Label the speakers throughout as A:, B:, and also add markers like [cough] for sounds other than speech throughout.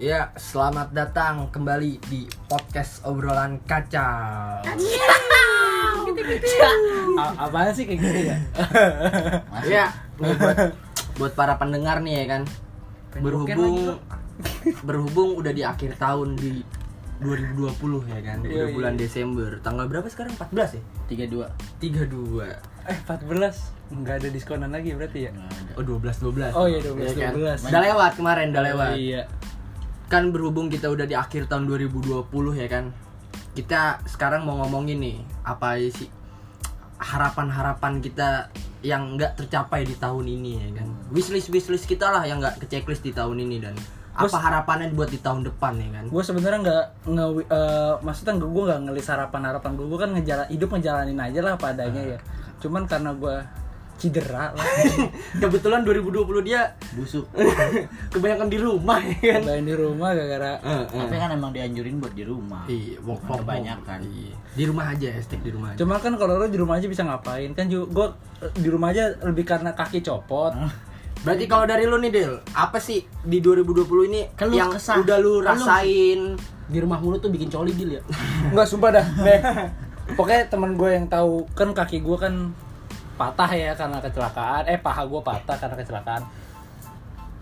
A: Ya, selamat datang kembali di podcast obrolan kacau.
B: A- apaan sih kayak gitu ya?
A: Ya, ini buat buat para pendengar nih ya kan. Berhubung berhubung udah di akhir tahun di 2020 ya kan. Udah
B: Yoi.
A: bulan Desember. Tanggal berapa sekarang? 14 ya?
C: 32
A: 32.
B: eh 14 nggak ada diskonan lagi berarti ya?
A: Oh, 12 12.
B: Oh, iya, 12, 12.
A: Ya kan? Udah lewat kemarin, udah lewat.
B: Iya.
A: Kan berhubung kita udah di akhir tahun 2020 ya kan. Kita sekarang mau ngomongin nih apa sih harapan-harapan kita yang nggak tercapai di tahun ini ya kan. Wishlist wishlist kita lah yang nggak keceklist di tahun ini dan apa harapannya buat di tahun depan ya kan. [laughs]
B: Gue sebenarnya nggak nge eh, maksudnya gue gue nggak ngelis harapan harapan gue gue kan ngejala hidup ngejalanin aja lah padanya ya. Cuman karena gue cedera lah,
A: Kebetulan 2020 dia [laughs]
C: busuk
A: kebanyakan di rumah ya kan.
B: main di rumah gara-gara
A: Eh, eh.
C: tapi kan emang dianjurin buat di rumah
A: Iya, work from home.
C: Kebanyakan.
A: Iya. Di rumah aja, stick di rumah aja.
B: Cuman kan kalau lu di rumah aja bisa ngapain kan gue di rumah aja lebih karena kaki copot.
A: Berarti kalau dari lu nih Del, apa sih di 2020 ini
C: Kan lu
A: yang
C: kesah.
A: udah lu
C: Kan lu-
A: rasain?
D: di rumah mulu tuh bikin coli deal ya
B: Enggak sumpah dah. Nih, Pokoknya teman gue yang tahu kan kaki gue kan patah ya karena kecelakaan. Eh paha gue patah karena kecelakaan.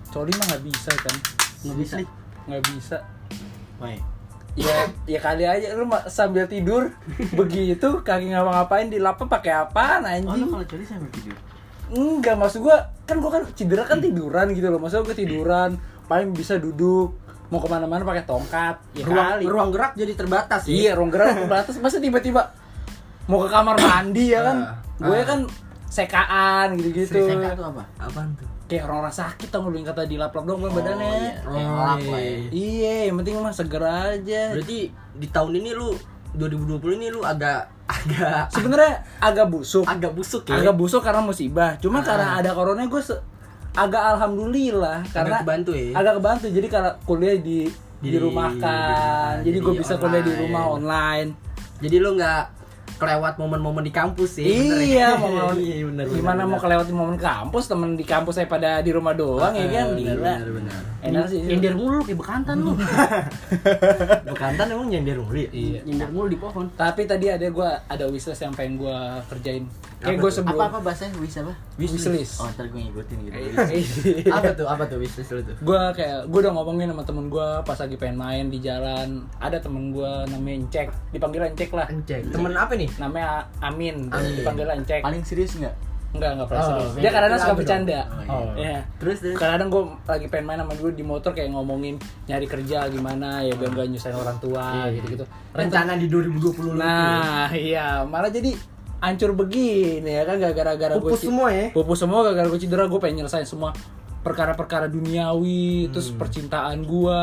B: Coli mah nggak bisa kan?
D: nggak bisa
B: Nggak bisa.
C: Woi,
B: Ya, ya kali aja lu ma- sambil tidur begitu kaki ngapa-ngapain dilapa pakai apaan
C: oh lu
B: anjing?
C: kalau coli sambil tidur
B: Enggak maksud gue kan gue kan cedera kan tiduran gitu loh. Maksud gue tiduran paling bisa duduk mau kemana-mana pakai tongkat. Ya
A: Ruang,
B: kali.
A: ruang gerak jadi terbatas ya.
B: Iya, ruang gerak terbatas. Masa tiba-tiba mau ke kamar mandi ya kan?
A: Ah,
B: Gue
A: ah.
B: kan sekaan gitu-gitu.
C: Seka tuh apa
A: Apaan tuh?
B: Kayak orang orang sakit tau lu yang kata dilap-lap doang
A: Oh,
B: kan badannya.
C: iya.
B: Iya.
C: Kayak ngelap lah ya.
B: yang penting mah segera aja.
A: Berarti di tahun ini lu 2020 ini lu agak agak
B: Sebenarnya agak busuk.
A: agak busuk ya.
B: Agak busuk karena
A: Ah.
B: musibah. Cuma karena ada corona gue se- agak alhamdulillah karena
A: kebantu ya.
B: agak kebantu jadi kalau kuliah
A: Di-
B: di di, dirumahkan jadi gue
A: di
B: bisa kuliah di rumah
A: online.
B: online
A: Jadi lu nggak kelewat momen-momen di kampus sih. [laughs]
B: Iya, mau mau-
A: iya, bener, bener,
B: gimana
A: bener.
B: mau kelewati momen kampus temen di kampus saya pada di rumah doang ya
A: Ah, Bener,
B: kan gila.
A: Eh, bener, bener.
B: Enak sih.
D: nyender mulu kayak bekantan
B: [laughs]
D: lu
A: Bekantan emang nyender mulu ya?
B: [laughs] Iya.
D: nyender mulu di pohon
B: Tapi tadi ada gua ada wishlist yang pengen gua kerjain. Kayak
A: Apa
B: gua
A: tuh?
B: sebelum
C: apa apa bahasanya wis apa
B: wishlist.
C: oh ntar gue ngikutin gitu
B: Iya.
A: apa tuh? Apa tuh bisnis lu tuh?
B: [laughs] gua kayak gua udah ngomongin sama temen gua pas lagi pengen main di jalan. Ada temen gua namanya Encek, dipanggil Encek lah.
A: Anjay. Temen apa nih?
B: Namanya Amin,
A: Amin.
B: dipanggil Encek.
C: paling serius nggak
B: Enggak, enggak pernah
A: Oh,
B: serius.
A: oke.
B: Dia kadang-kadang suka
A: Lagu dong.
B: bercanda.
C: Oh,
B: Iya.
A: Terus terus.
B: kadang-kadang gue lagi pengen main sama dulu di motor kayak ngomongin nyari kerja gimana ya biar gak nyusahin orang tua gitu-gitu
A: Hmm. Iya, Rencana gitu. di 2020 lu.
B: nah iya malah jadi hancur begini ya kan gara-gara gue
A: pupus semua ya.
B: pupus semua gara-gara gue cedera gue pengen nyelesain semua perkara-perkara duniawi terus
A: Hmm.
B: percintaan gue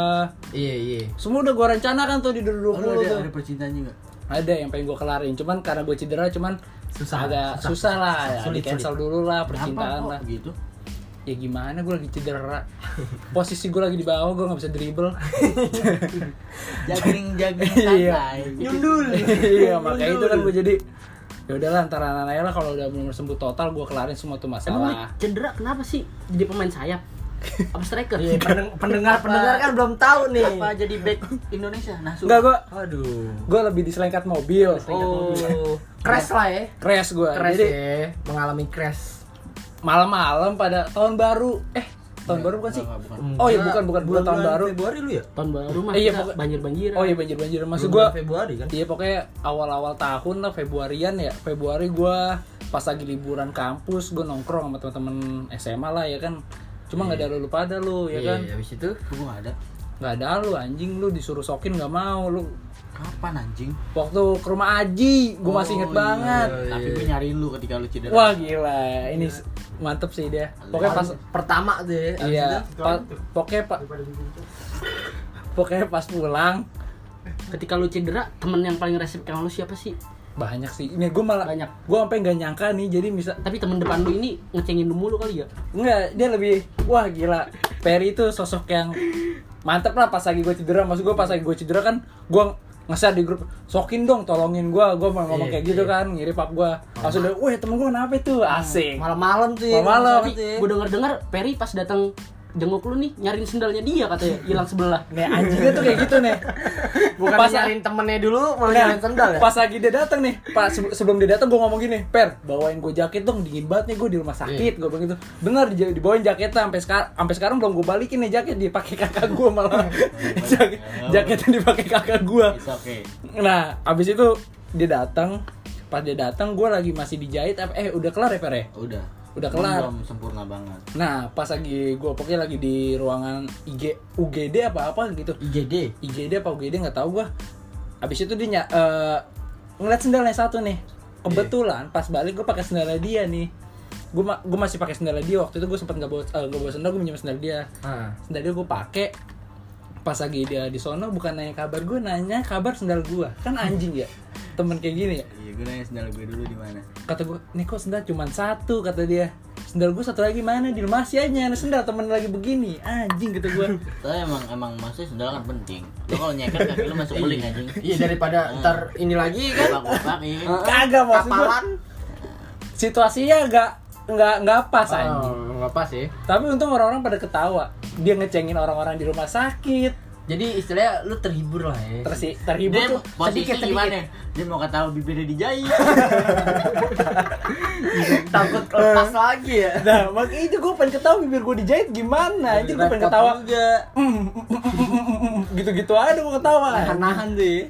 A: Iya, iya.
B: semua udah gue rencanakan tuh di 2020
A: Oh,
C: lu
B: tuh
C: ada, ada percintaan juga
B: ada yang pengen gue kelarin cuman karena gue cedera cuman
A: Susah,
B: agak
A: susah.
B: susah, lah ya
A: Sulit,
B: di cancel dulu lah percintaan
C: kenapa
B: lah
C: kok gitu
B: ya gimana gue lagi cedera posisi gue lagi di bawah gue nggak bisa dribble
C: jagling jagling
B: [laughs] Iya.
C: santai Gitu.
A: Nyundul.
B: [laughs] iya makanya itu kan gue jadi ya udahlah antara anak lah kalau udah benar sembuh total gue kelarin semua tuh
D: emang lu
B: masalah
D: cedera kenapa sih jadi pemain sayap apa striker
A: Iya, pendeng- [laughs] pendengar-pendengar kan belum tahu nih.
C: apa jadi back Indonesia nah
B: enggak gue
A: Aduh.
B: gue lebih diselengkat mobil
A: Oh, crash lah ya.
B: crash gue
A: Crash
B: jadi
A: ya, mengalami crash.
B: malam-malam pada tahun baru eh tahun baru bukan sih
C: enggak, bukan.
B: oh iya bukan bukan bulan tahun baru
A: Februari lu ya?
D: tahun baru mah
B: Iya,
D: kita
B: pokok-
D: banjir-banjiran
B: oh iya banjir banjir maksud
A: Bulan
B: gue
A: Februari kan.
B: Iya pokoknya awal-awal tahun lah Februarian ya Februari gua pas lagi liburan kampus gua nongkrong sama teman-teman SMA lah ya kan cuma nggak ada lu, lu pada lu ya kan
A: habis itu
C: gue ada
B: nggak ada lu anjing lu disuruh sokin nggak mau lu
C: kapan anjing
B: waktu ke rumah Aji gua masih inget
C: Oh, iya.
B: banget
C: tapi gue nyariin lu ketika lu cedera
B: wah gila ini s- mantep sih dia pokoknya pas
A: pertama tuh ya. abis
B: iya
A: itu.
B: pa- pokoknya pa- pokoknya pas pulang
D: ketika lu cedera temen yang paling resip sama lu siapa sih
B: banyak sih ini gua malah
D: Banyak.
B: gua sampai nggak nyangka nih jadi bisa
D: tapi temen depan lu ini ngecengin lu mulu kali ya
B: Enggak, dia lebih wah gila. Perry itu sosok yang mantep lah pas lagi gue cedera. Maksud gue pas lagi gue cedera kan gue ngeser di grup sokin dong tolongin gue gue mau ngomong
A: Iya,
B: kayak gitu
A: iya.
B: kan ngiri pap gue langsung dia weh temen gue kenapa itu asing
A: Malam-malam tuh ya.
B: Malam-malam.
A: masalah tuh ya.
D: gue denger dengar Perry pas datang jenguk lu nih nyariin sendalnya dia katanya hilang sebelah
B: Nih anjingnya tuh kayak gitu nih.
A: Bukan
B: Pas-
A: nyariin temennya dulu, malah
B: Nah,
A: nyariin sendal ya?
B: Pas lagi dia datang nih, pas sebe- sebelum dia datang gue ngomong gini, Per, bawain gue jaket dong, dingin banget nih gue di rumah sakit,
A: Iya.
B: gue bilang gitu. Bener dij- dibawain jaketnya sampai sekarang, sampai sekarang belum gue balikin nih jaket dipakai kakak gue
A: [laughs]
B: malah. Jak- jaketnya dipakai kakak gue.
C: It's okay.
B: Nah, abis itu dia datang, pas dia datang gue lagi masih dijahit, apa- eh udah kelar ya Per ya?
C: Udah.
B: Udah
C: Cuman
B: kelar.
C: Belum sempurna banget.
B: Nah, pas lagi gue pokoknya lagi di ruangan IG, UGD apa apa gitu.
C: IGD.
B: IGD apa UGD nggak tahu gua. Abis itu dia ny- eh, ngeliat sendalnya satu nih. Kebetulan pas balik gua pakai sendalnya dia nih. Gua ma- gua masih pakai sendalnya dia waktu itu gua sempat nggak bawa eh, nggak bawa sendal gua minjem sendal dia.
A: Ah.
B: Sendal dia gua pakai pas lagi dia di sono bukan nanya kabar gua nanya kabar sendal gua kan anjing ya temen kayak gini ya
C: Iya, gue nanya sendal gue dulu di mana.
B: kata gua nih kok sendal cuma satu kata dia sendal gua satu lagi mana di rumah sih aja ada sendal temen lagi begini anjing gitu gua
C: Tapi emang emang maksudnya sendal kan penting. Lo kalau nyeker kaki lo masuk beling anjing.
A: Iya daripada ntar ini lagi kan
C: Bapak-bapak iya.
B: kagak maksud gua
A: kapalan.
B: situasinya agak nggak nggak pas anjing
A: Oh, nggak pas ya.
B: Tapi untung orang-orang pada ketawa. Dia ngecengin orang-orang di rumah sakit.
A: Jadi istilahnya lu terhibur lah ya.
B: Terus terhibur
C: Dia
B: tuh
C: posisi
B: sedikit sedikit.
C: gimana? Dia mau kata bibirnya dijahit.
A: Takut lepas lagi ya.
B: Nah, makanya itu gue pengen ketawa bibir gue dijahit gimana. Anjir gue pengen
A: Repot
B: ketawa.
A: Iya, juga.
B: [laughs] Mm, mm, mm, mm, mm, mm, Gitu-gitu aja gue ketawa.
A: Nahan-nahan tuh ya.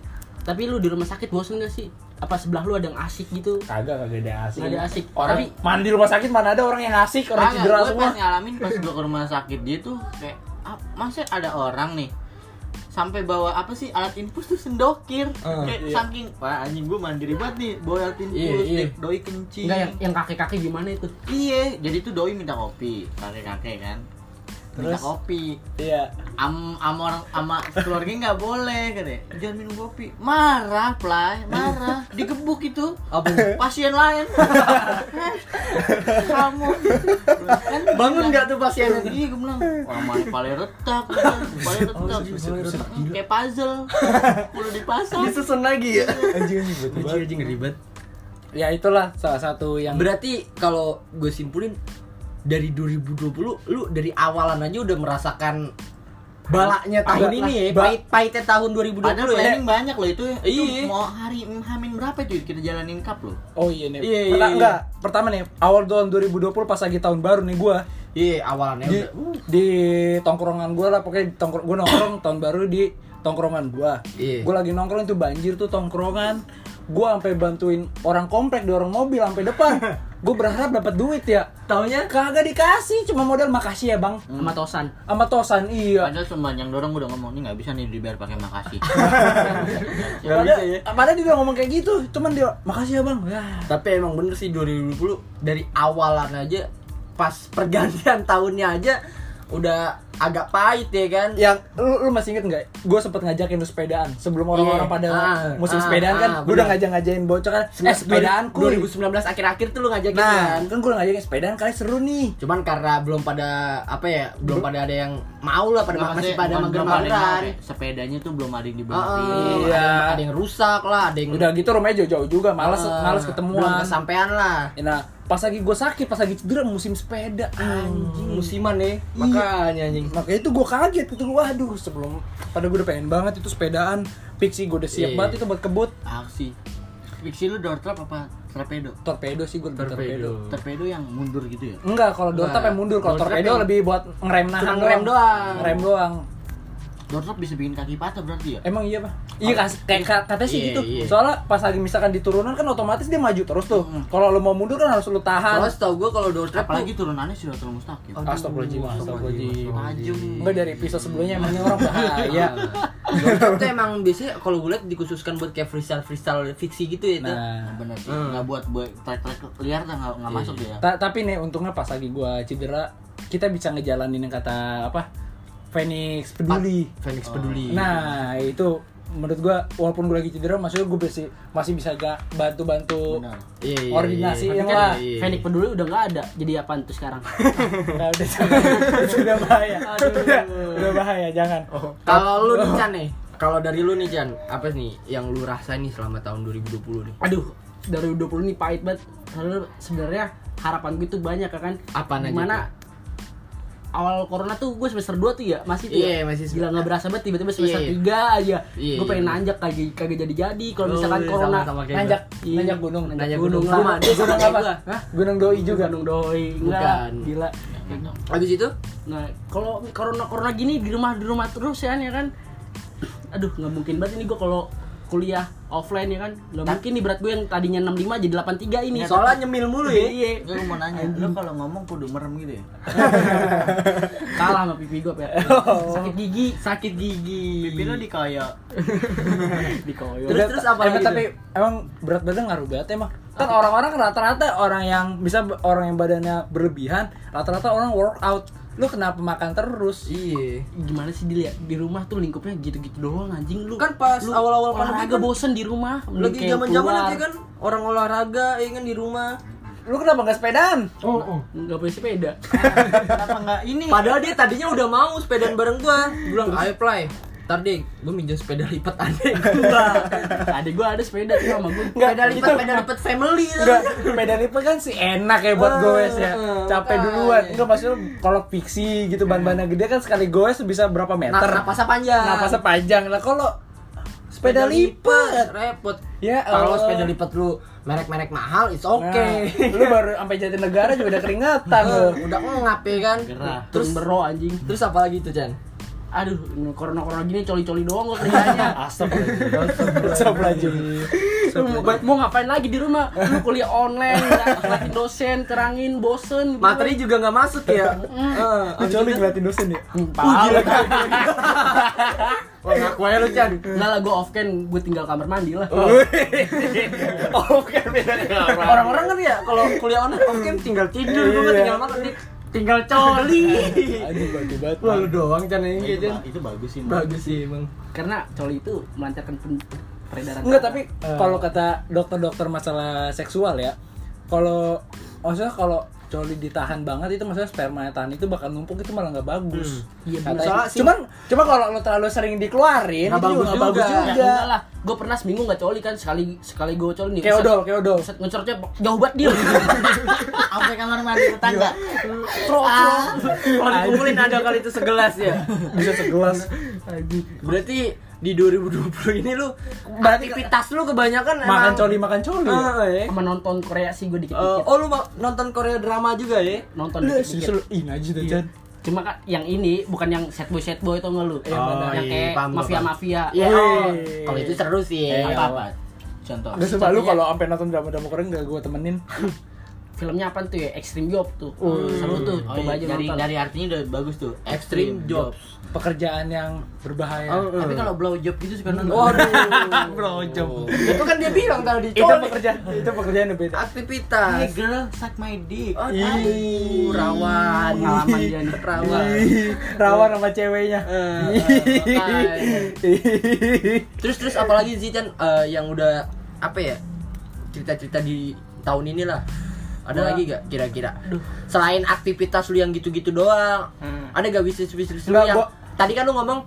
D: tapi lu di rumah sakit bosen gak sih apa sebelah lu ada yang asik gitu
B: Kagak kagak ada asik.
D: Nggak ada asik.
B: Orang
D: Tapi-
B: mandi rumah sakit mana ada orang yang asik, orang
C: Kagak,
B: cedera
C: gue
B: semua.
C: pas ngalamin pas gue ke rumah sakit dia tuh kayak "Ah, masa ada orang nih sampai bawa apa sih alat infus tuh sendokir
B: Ah,
C: kayak
B: iya.
C: saking wah anjing gue mandiri banget nih bawa alat infus
A: Iya, iya.
C: dek, doi kencing
D: enggak ya. yang yang kakek-kakek gimana itu
C: iya jadi tuh doi minta kopi kakek kakek kan minta
B: Terus?
C: kopi
B: Iya.
C: am am orang ama keluarga nggak boleh katanya jangan minum kopi marah play marah digebuk itu
A: Apa?
C: pasien
A: [laughs]
C: lain kamu kan
A: Bangun nggak tuh pasiennya?
C: iya gue bilang orang mana paling retak
A: [laughs]
C: paling
A: Oh,
C: retak gitu. Hmm, kayak puzzle perlu dipasang
A: Disusun lagi ya.
B: Anjing anjing betul
A: Lucu
B: banget.
A: aja ngeribet.
B: Ya itulah salah satu yang
A: Berarti kalau gue simpulin dari 2020 lu dari awalan aja udah merasakan balaknya tahun
B: Agak
A: ini ya,
B: lah. Ba-
A: pahit-pahitnya tahun 2020
C: Padahal
A: ya.
C: planning banyak loh itu. itu
A: Iya.
C: Mau hari Hamin berapa itu kita jalanin cup loh.
B: Oh iya nih.
A: Iya,
B: Pertama-
A: iya, iya.
B: enggak, pertama nih awal tahun 2020 pas lagi tahun baru nih gua.
A: Iya, awalannya
B: di,
A: udah. uh,
B: di tongkrongan gue lah pokoknya di tongkrong gue nongkrong tahun baru di tongkrongan gue
A: Iya.
B: gue lagi nongkrong itu banjir tuh tongkrongan gue sampai bantuin orang komplek dorong mobil sampai depan gue berharap dapat duit ya
A: Taunya
B: kagak dikasih cuma modal makasih ya bang
D: sama tosan
B: sama tosan iya
C: Padahal semuanya yang dorong udah ngomong ini nggak bisa nih dibayar pakai makasih.
A: [laughs] Nggak
B: Padahal-
A: bisa ya.
B: padahal dia udah ngomong kayak gitu cuman dia makasih ya bang ya
A: Tapi emang bener sih 2020 dari awalan aja pas pergantian [laughs] tahunnya aja udah agak pahit ya kan.
B: yang lu, lu masih inget nggak? Gue sempet ngajakin lu sepedaan sebelum orang-orang
A: Iya.
B: pada
A: Ah,
B: musim
A: ah,
B: sepedaan kan,
A: ah,
B: gue udah
A: bener.
B: ngajak-ngajakin bocah kan,
A: Sembilan-
B: eh sepedaan kuy.
A: 2019 akhir-akhir tuh lu ngajakin
B: Nah,
A: kan.
B: kan gue ngajakin sepedaan kali seru nih.
A: Cuman karena belum pada apa ya, belum pada ada yang mau lah pada masih pada mager-mageran.
C: Sepedanya tuh ya. belum ada yang
A: Heeh,
C: dibenerin.
A: ada yang-
B: Iya.
A: ada yang rusak lah, ada yang
B: Udah gitu rumahnya jauh-jauh juga, malas
A: Eh,
B: malas
A: belum
B: ketemuan.
A: kesampean lah
B: Ya, Nah, pas lagi gue sakit, pas lagi cedera musim sepeda
A: Hmm.
B: anjing.
A: musiman nih makanya anjing
B: Makanya itu gue kaget gitu, waduh sebelum pada gue udah pengen banget itu sepedaan. Pixie gue udah
A: Iya.
B: siap banget itu buat kebut.
C: Aksi. Fiksi lu door trap apa torpedo?
B: Torpedo sih gue lebih torpedo.
C: Torpedo yang mundur gitu ya.
B: Enggak, kalau door
A: Enggak.
B: tap yang mundur, kalau
A: Door tap
B: torpedo
A: Nah, yang-
B: lebih buat ngerem nahan
A: Cuma ngerem doang.
B: Ngerem doang.
C: Door trap bisa bikin kaki patah berarti ya?
A: Eh,
B: Emang iya, Pak? Iya, kas- kayak ka- katanya sih
A: Oh. Iya,
B: gitu.
A: iya.
B: Soalnya pas lagi misalkan di turunan kan otomatis dia maju terus tuh. Kalau lu mau mundur kan harus lu tahan.
A: Soalnya setau gue kalau door trap tuh Oh,
C: Apalagi
A: iya.
C: turunannya sudah terlalu mustaqim.
A: Aduh,
B: Astagfirullahaladzim, astagfirullahaladzim.
C: Tajam.
B: Enggak dari episode sebelumnya emang ini orang
A: [laughs]
B: bahaya.
A: door trap tuh emang biasanya kalau gue liat dikhususkan buat kayak freestyle freestyle fiksi gitu ya tuh.
C: Nah,
B: Nah,
C: bener sih. Nggak
A: Hmm.
C: buat buat trek-trek liar tuh nggak
A: Iya.
C: nggak masuk dia.
B: ta- tapi nih untungnya pas lagi gua cedera, kita bisa ngejalanin yang kata apa? Phoenix peduli.
A: Felix peduli
B: Nah, itu menurut gua walaupun gua lagi cedera maksudnya gua masih masih bisa gak bantu-bantu
C: Benar.
A: Iya, iya,
B: Ordinasi
A: iya.
B: yang
A: Tapi
B: lah.
A: iya, iya.
D: Fenik peduli udah nggak ada jadi apaan tuh sekarang
B: Nah, udah jangan. Itu udah bahaya. Udah, udah bahaya, jangan.
A: Oh. Kalau lu nih Chan nih kalau dari lu nih Chan, apa nih yang lu rasain nih selama tahun 2020 nih?
D: aduh dari 20 ini pahit banget Padahal sebenarnya harapan gue tuh banyak ya kan
A: Apaan aja
D: Gimana awal corona tuh gue semester 2 tuh ya masih tuh
A: Iya,
D: ya.
A: masih
D: gila nggak berasa banget tiba-tiba semester
A: Iya, iya.
D: 3 aja
A: Iya,
D: gue pengen
A: iya.
D: nanjak kagak kagak jadi-jadi kalau
A: Oh,
D: misalkan
A: iya,
D: corona
A: sama-sama kayak
B: Nanjak,
D: Iya.
B: nanjak gunung.
A: Nanjak
D: gunung.
A: gunung. Sama, dia
B: gunung
A: kayak
B: apa?
A: gua.
B: Hah? Gunung doi juga.
D: gunung doi enggak
A: Bukan.
D: gila
A: Habis itu
D: nah kalau corona corona gini di rumah di rumah terus ya ya kan aduh nggak mungkin banget ini gue kalau kuliah offline ya kan nggak mungkin nih berat gue yang tadinya 65 jadi 83 ini
A: soalnya nyemil mulu ya.
D: iya
C: Gue mau nanya, lu kalau ngomong kudu merem gitu ya?
D: kalah sama pipi gue per sakit gigi Oh. sakit gigi
C: Pipi lu dikoyok.
D: dikoyok
A: Terus- terus apa
B: Iya. emang,
A: lagi
B: tapi emang berat badan ngaruh banget emang kan orang-orang rata-rata orang yang bisa orang yang badannya berlebihan rata-rata orang workout lu kenapa makan terus
A: Iya.
D: gimana sih dilihat di rumah tuh lingkupnya gitu-gitu doang anjing lu
A: Kan pas
D: lu
A: awal-awal pandemi
D: olahraga
A: kan-
D: bosen di rumah mending
A: Lagi
D: kayak
A: zaman-zaman
D: keluar.
A: lagi kan orang olahraga ya kan di rumah.
B: lu kenapa nggak sepedaan
A: Oh, oh.
D: nggak punya sepeda
C: Kenapa nggak
D: [laughs]
C: ini?
A: Padahal dia tadinya udah mau sepedaan bareng gua. Dia Bilang, "Ayo play." Ntar deh, gua minjem sepeda lipat [laughs] adek gua.
D: ada gua ada sepeda tuh sama gua
A: sepeda lipat, sepeda [laughs] lipat family.
B: Enggak, sepeda lipat kan sih enak ya buat
A: Ah,
B: goes ya.
A: ah,
B: Capek
A: makanya.
B: duluan. Enggak maksudnya kalau fiksi gitu ban-bannya gede kan sekali goes bisa berapa
A: Nah,
B: meter.
A: napasnya panjang.
B: Napasnya panjang. Lah Nah, kalau sepeda lipat
A: repot.
B: Ya
A: Kalau
B: Allah.
A: sepeda lipat lu merek-merek mahal, it's
B: Nah,
A: okay.
B: [laughs]
A: [laughs]
B: lu baru sampai Jatinegara juga udah keringetan lu.
A: udah ngap ya kan.
D: gerah terus
A: Terus
D: bero anjing
A: terus apa lagi tuh, Chan?
D: aduh corona corona gini coli coli doang gua kerjanya
B: Asap lagi.
D: lu mau, mau ngapain lagi di rumah lu kuliah online nggak- ngeliatin dosen terangin bosen gitu.
A: Materi juga nggak masuk ya. Heeh.
B: Lu coli ngeliatin dosen ya?
D: Pahal.
A: Wah, ngaku aja lu, Chan.
D: Enggak lah, gue off cam, gue tinggal kamar mandi lah.
B: Oh, bukan
A: [laughs]
B: beda
A: Orang-orang kan ya kalau kuliah online oke tinggal tidur, gua
B: Iya.
A: tinggal makan Dik. tinggal coli.
B: Aduh, bagus banget.
A: Wah, lu doang Chan yang
C: Itu,
A: gitu, Chan.
C: ba- itu bagus sih. Bang.
A: Bagus sih, Bang.
D: Karena coli itu melancarkan pen- peredaran.
B: Enggak, tapi kalau kata dokter-dokter masalah seksual ya, kalau maksudnya kalau coli ditahan banget itu maksudnya sperma yang tahan itu bakal numpuk itu malah nggak bagus.
A: Hmm.
D: Iya,
B: Katanya.
A: soalnya sih-
B: cuman cuma kalau lo terlalu sering dikeluarin
A: Nggak
B: itu
A: bagus
B: nggak bagus
A: juga.
B: juga.
D: Ya, enggak lah, gue pernah seminggu nggak coli kan sekali sekali gue coli nih.
B: Kayak
D: buset,
B: odol, kayak odol.
D: buset, ngecornya jauh banget
A: [laughs]
D: dia.
C: Sampai kamar mandi tetangga.
A: Kalau dikumpulin ada kali itu segelas ya.
B: Bisa segelas.
A: Berarti di 2020 ini lu
B: Berarti
A: aktivitas lu kebanyakan
B: makan
A: emang-
B: coli makan coli. ya?
A: Ah, ya.
D: Sama nonton Korea sih gue
A: Eh,
D: dikit-dikit.
A: oh lu ma- nonton Korea drama juga ya?
D: nonton
B: Lu serius
D: dikit-dikit.
B: lu ih najis tuh
D: Iya.
B: Jan.
D: Cuma kan yang ini bukan yang set boy set boy itu nggak lu?
A: Yang mana?
D: yang
A: iya,
D: kayak
A: paham gua,
D: mafia mafia.
A: Iya.
B: Wih.
A: Kalau itu seru sih.
B: Eh,
C: Apa apa? Contoh.
B: Gak sumpah lu
A: ya.
D: Contohnya-
B: kalau sampai nonton drama-drama keren gak gue temenin
D: Filmnya apa tuh ya? Extreme Job tuh. Seru tuh.
C: Oh,
D: Coba
C: iya,
D: aja
C: dari
D: nonton.
C: dari artinya udah bagus tuh.
A: Extreme Jobs. Ah,
B: pekerjaan yang berbahaya.
A: Oh,
C: Tapi kalau blow job gitu suka nonton.
A: Waduh.
B: Brojok.
A: itu kan dia bilang tadi
B: Itu
A: coli. Ah.
B: pekerjaan, itu pekerjaan yang beda.
C: Hey
A: aktivitas.
C: girl, suck my dick.
A: Oh,
B: Ih.
A: aduh, rawan.
D: Pengalaman dia nih.
A: Rawan.
B: Ih, rawan sama ceweknya.
A: Eh, eh, Terus terus apalagi sih Chan eh, yang udah apa ya? Cerita-cerita di tahun inilah. Ada
D: Wah.
A: lagi gak kira-kira? Selain aktivitas lu yang gitu-gitu doang,
D: Hmm.
A: ada gak bisnis-bisnis lu
B: Nggak,
A: yang
B: gua-
A: tadi kan lu ngomong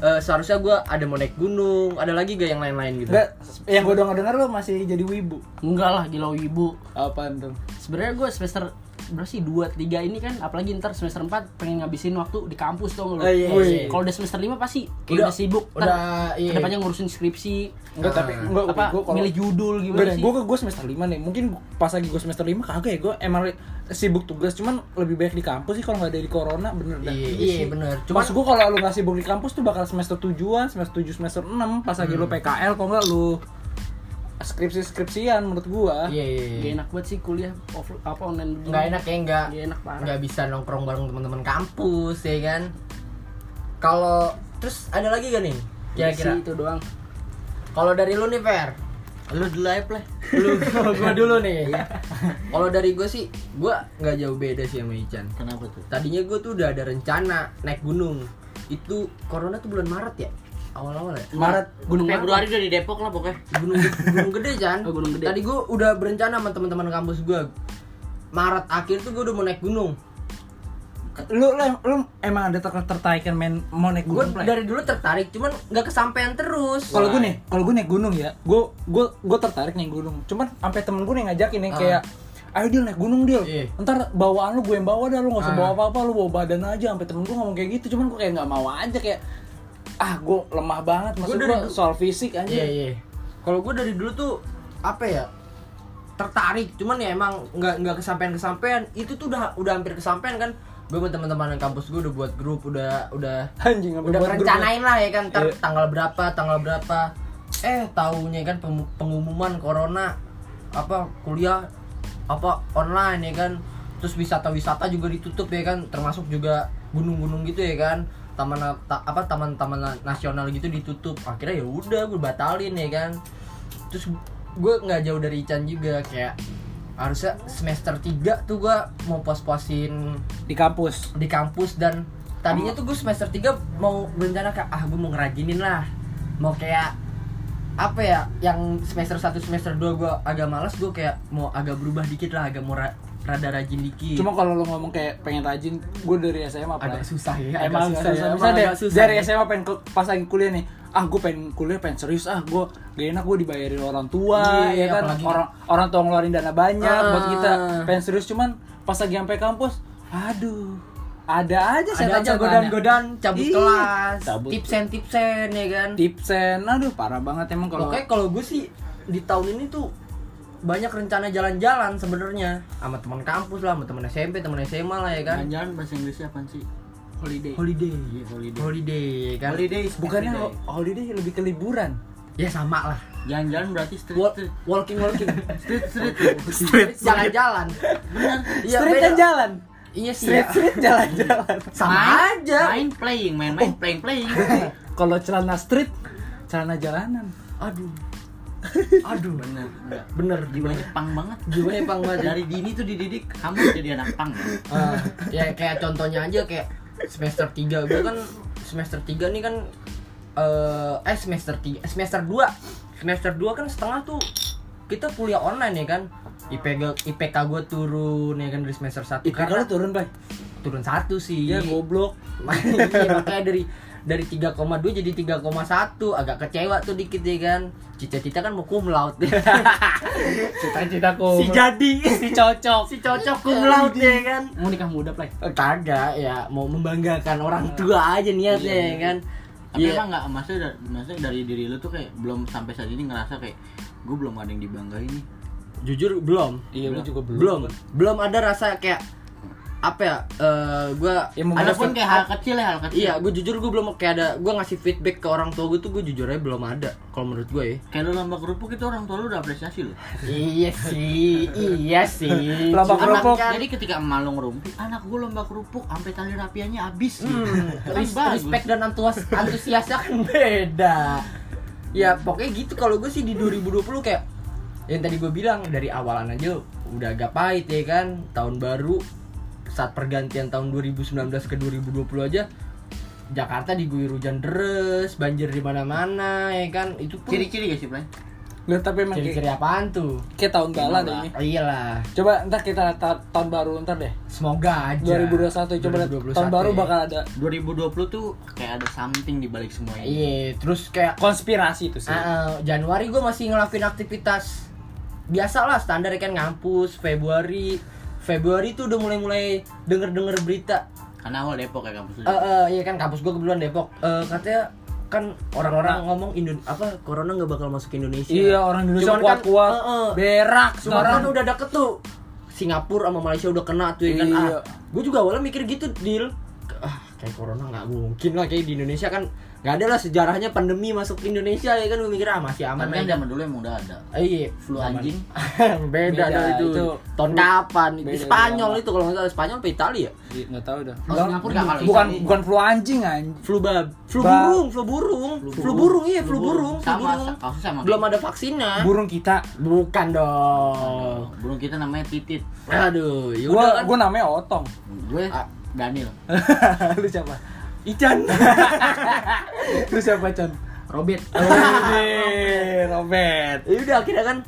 A: eh, seharusnya gua ada mau naik gunung, ada lagi gak yang lain-lain gitu?
B: Enggak, yang gue dengar dengar lo masih jadi wibu.
D: Enggak lah, gila ibu.
B: Apaan tuh?
D: sebenarnya gue semester berapa sih dua tiga ini kan apalagi ntar semester 4 pengen ngabisin waktu di kampus tuh lo
A: Oh, iya, iya.
D: kalau udah semester 5 pasti kayak
A: Udah-
D: udah, sibuk ntar
A: udah, iya.
D: kedepannya ngurusin skripsi
B: Enggak, tapi
A: Ah.
B: enggak
D: apa
B: gue kalau
D: milih judul
B: Enggak
D: gimana
B: deh,
D: sih
B: gue gue semester 5 nih. Mungkin pas lagi gue semester 5 kagak ya gue emang li- sibuk tugas cuman lebih baik di kampus sih kalau nggak ada di corona bener dah.
A: Iya, iya, bener.
B: Cuma
A: Cuman-
B: gue kalau lu nggak sibuk di kampus tuh bakal semester 7-an, semester 7, semester 6 pas lagi lu
A: Hmm.
B: PKL kok enggak lu skripsi-skripsian menurut gua.
A: Iya, iya,
D: gak
A: iya.
D: enak banget sih kuliah off, apa online begini.
A: Nggak enak ya, nggak
D: Nggak enak parah
A: nggak bisa nongkrong bareng teman-teman kampus ya kan? Kalau terus ada lagi gak nih? Kira-kira?
D: Sih, itu doang
A: Kalau dari lu nih Fer
C: Lu dulu aja pleh.
A: Lu [laughs]
C: [laughs]
A: gua dulu nih ya kan? Kalau dari gue sih gua nggak jauh beda sih sama Ican
C: Kenapa tuh?
A: Tadinya gue tuh udah ada rencana naik gunung Itu corona tuh bulan Maret ya? Awal-awal ya?
B: Maret
D: gunung
C: Februari udah di Depok lah pokoknya.
A: Gunung, gunung gede Chan
D: Oh, Gunung Gede.
A: Tadi gue udah berencana sama teman-teman kampus gue Maret akhir tuh gue udah mau naik gunung
B: lu, lu, lu emang ada ter- tertarikan main mau naik
A: Gue
B: gunung Play?
A: dari dulu tertarik cuman nggak kesampaian terus
B: kalau gue nih kalau gue naik gunung ya gue gue gue tertarik naik gunung cuman sampai temen gue nih ngajakin nih kayak ayo deal naik gunung
A: Ah.
B: deal
A: Iya.
B: ntar bawaan lu gue yang bawa dah lu nggak usah
A: Ah.
B: bawa apa apa lu bawa badan aja sampai temen gue ngomong kayak gitu cuman gue kayak nggak mau aja kayak ah gue lemah banget maksud
A: Gua
B: gue
A: dari dulu-
B: soal fisik aja
A: Iya iya. Kalau gue dari dulu tuh apa ya tertarik, cuman ya emang nggak nggak kesampaian kesampaian. Itu tuh udah udah hampir kesampaian kan. Gue sama teman-teman yang kampus gue udah buat grup, udah udah
B: anjing sampai
A: udah
B: buat grup.
A: merencanain lah ya kan ntar
B: Iya.
A: tanggal berapa tanggal berapa eh taunya kan pem- pengumuman corona apa kuliah apa online ya kan terus wisata-wisata juga ditutup ya kan termasuk juga gunung-gunung gitu ya kan taman ta- apa taman-taman na- nasional gitu ditutup akhirnya ya udah gue batalin ya kan terus gue nggak jauh dari Ican juga kayak harusnya semester 3 tuh gue mau pos-posin
B: di kampus
A: di kampus dan tadinya tuh gue semester 3 mau berencana kayak ah gue mau ngerajinin lah mau kayak apa ya yang semester 1 semester 2 gue agak malas gue kayak mau agak berubah dikit lah agak mau ra- rada rajin dikit
B: cuma kalau lu ngomong kayak pengen rajin gue dari SMA apa
A: agak susah ya agak
B: emang
A: susah,
B: susah,
A: ya,
B: susah.
A: emang
B: Misalnya
A: agak susah
B: dari
A: ya.
B: SMA pengen ke- pas lagi kuliah nih ah gue pengen kuliah pengen serius ah gue gak enak gue dibayarin orang
A: Iya,
B: tua ya kan
A: apalagi-
B: orang orang tua ngeluarin dana banyak
A: Ah.
B: buat kita pengen serius cuman pas lagi sampai kampus aduh ada
A: ada
B: aja
A: aja
B: setan-setannya.
A: godaan-godaan cabut
B: Iya,
A: kelas
B: cabut.
A: tipsen-tipsen ya kan
B: tipsen aduh parah banget emang kalau
A: Pokoknya kalau gue sih di tahun ini tuh banyak rencana jalan-jalan sebenarnya sama teman kampus lah, sama teman SMP, teman SMA lah ya kan.
C: Jangan-jangan bahasa Inggrisnya apaan sih?
D: holiday
A: Holiday,
C: Iya, holiday.
A: holiday ya kan.
C: Holiday is
B: bukannya
C: everyday.
B: ho- holiday lebih ke liburan
A: Ya sama lah.
C: Jangan-jangan berarti street
A: Wa-
C: street
A: walking walking.
C: street street.
A: Jalan-jalan.
C: Bener.
A: Iya,
B: street
A: beda.
B: kan jalan
A: Iya sih.
B: street
A: ya.
B: street jalan-jalan
A: Sama
C: Main-
A: aja. Oh.
C: Main playing, main-main playing playing.
B: kalau celana street celana jalanan
A: Aduh. [laughs] Aduh.
C: Bener. enggak.
A: Bener
C: Jiwanya pang banget.
A: Jiwanya pang banget.
C: Dari dini tuh dididik kamu jadi anak pang. ya.
A: Ah, ya kayak contohnya aja kayak semester 3 gue kan semester 3 nih kan eh, eh semester 3 semester 2 semester 2 kan setengah tuh kita kuliah online ya kan IPK IPK gue turun ya kan dari semester 1
B: IPK
A: karena
B: lu turun pak
A: turun satu sih
B: ya goblok
A: Iya, makanya dari dari 3,2 jadi 3,1 agak kecewa tuh dikit ya kan cita-cita kan mau cum [laughs] laude
B: cita-cita
A: si jadi
B: si cocok
A: si cocok cum laude ya kan
D: mau nikah muda play
A: Eh, kagak ya mau membanggakan orang tua aja niatnya ya kan
C: Tapi
A: Iya.
C: emang nggak maksudnya, da- maksudnya dari diri lu tuh kayak belum sampai saat ini ngerasa kayak gue belum ada yang dibanggain nih.
A: jujur belum
B: iya lu juga
A: belum belum ada rasa kayak apa ya eh, gua
B: Ya, memang
A: ada
C: Adapun
A: pun
C: kayak hal kecil ya hal kecil.
A: iya gue jujur gue belum kayak ada gue ngasih feedback ke orang tua gue tuh gue jujur aja belum ada kalau menurut gue ya
C: Kayak lu lomba kerupuk itu orang tua lu udah apresiasi lu.
A: iya sih iya sih
B: Lomba
A: Cuman
B: kerupuk.
A: kan-
C: Jadi ketika emak lu ngerumpi, anak gue lomba kerupuk sampai tali rapiannya habis.
A: Hmm,
C: Kan
A: res-
C: bagus.
A: respect dan antuas- antusiasnya kan beda. Ya pokoknya gitu kalau gue sih di 2020 kayak yang tadi gue bilang dari awalan aja udah agak pahit ya kan tahun baru saat pergantian tahun 2019 ke 2020 aja Jakarta diguyur hujan deres, banjir di mana-mana ya kan itu pun
C: Ciri-ciri gak sih, Play?
B: lu tapi emang kayak, gitu.
A: ciri-ciri apaan tuh?
B: kayak tahun bala deh ini
A: Oh, iyalah,
B: coba ntar kita ta- tahun baru ntar deh
A: semoga aja.
B: 2021 coba lihat
A: 2021
B: tahun baru
A: ya.
B: bakal ada
C: 2020 tuh kayak ada something di balik semuanya.
A: Iya, terus kayak
B: konspirasi itu sih
A: Ah, eh, Januari gue masih ngelakuin aktivitas biasalah standar ya kan ngampus Februari Februari tuh udah mulai-mulai denger-denger berita
C: Karena awal Depok ya kampus lu.
A: eh eh, iya kan kampus gue kebetulan Depok Eh, katanya kan orang-orang ngomong Indo- apa corona nggak bakal masuk ke Indonesia
B: iya orang Indonesia
A: Cuman kan,
B: kuat-kuat
A: eh, eh.
B: berak sekarang
A: Sumatera kan udah deket tuh Singapura sama Malaysia udah kena tuh ya kan
B: Iya.
A: gue juga awalnya mikir gitu deal ah, kayak corona nggak mungkin lah kayak di Indonesia kan nggak ada lah sejarahnya pandemi masuk ke Indonesia ya kan gue mikir ah masih aman
C: Tapi
A: lah
C: kan zaman dulu emang udah ada.
A: Eh, Iya,
C: Flu anjing.
A: [laughs] beda,
B: Beda,
A: dong itu.
B: itu.
A: Tahun kapan? Di
B: Beda,
A: Spanyol
B: beda.
A: itu kalau nggak salah Spanyol apa Italia ya?
B: Iya, nggak tahu dah
C: Oh, Singapura nggak kalau
B: bukan
C: bisa.
B: bukan flu anjing anjing
A: Flu bab, flu
B: Ba-
A: burung, flu burung, flu burung iya, flu burung, flu
C: Sama,
A: burung.
C: sa- kasusnya sama.
A: Belum ada vaksinnya.
B: burung kita
A: Bukan dong.
C: Oh, Burung kita namanya Titit.
A: Aduh, yaudah kan.
B: gua gua namanya Otong [laughs]
C: Gue
A: Ah.
C: Daniel.
B: lu siapa
A: Ican.
B: lu siapa Con
D: robert
B: Robert Robert
A: [laughs] ya udah akhirnya kan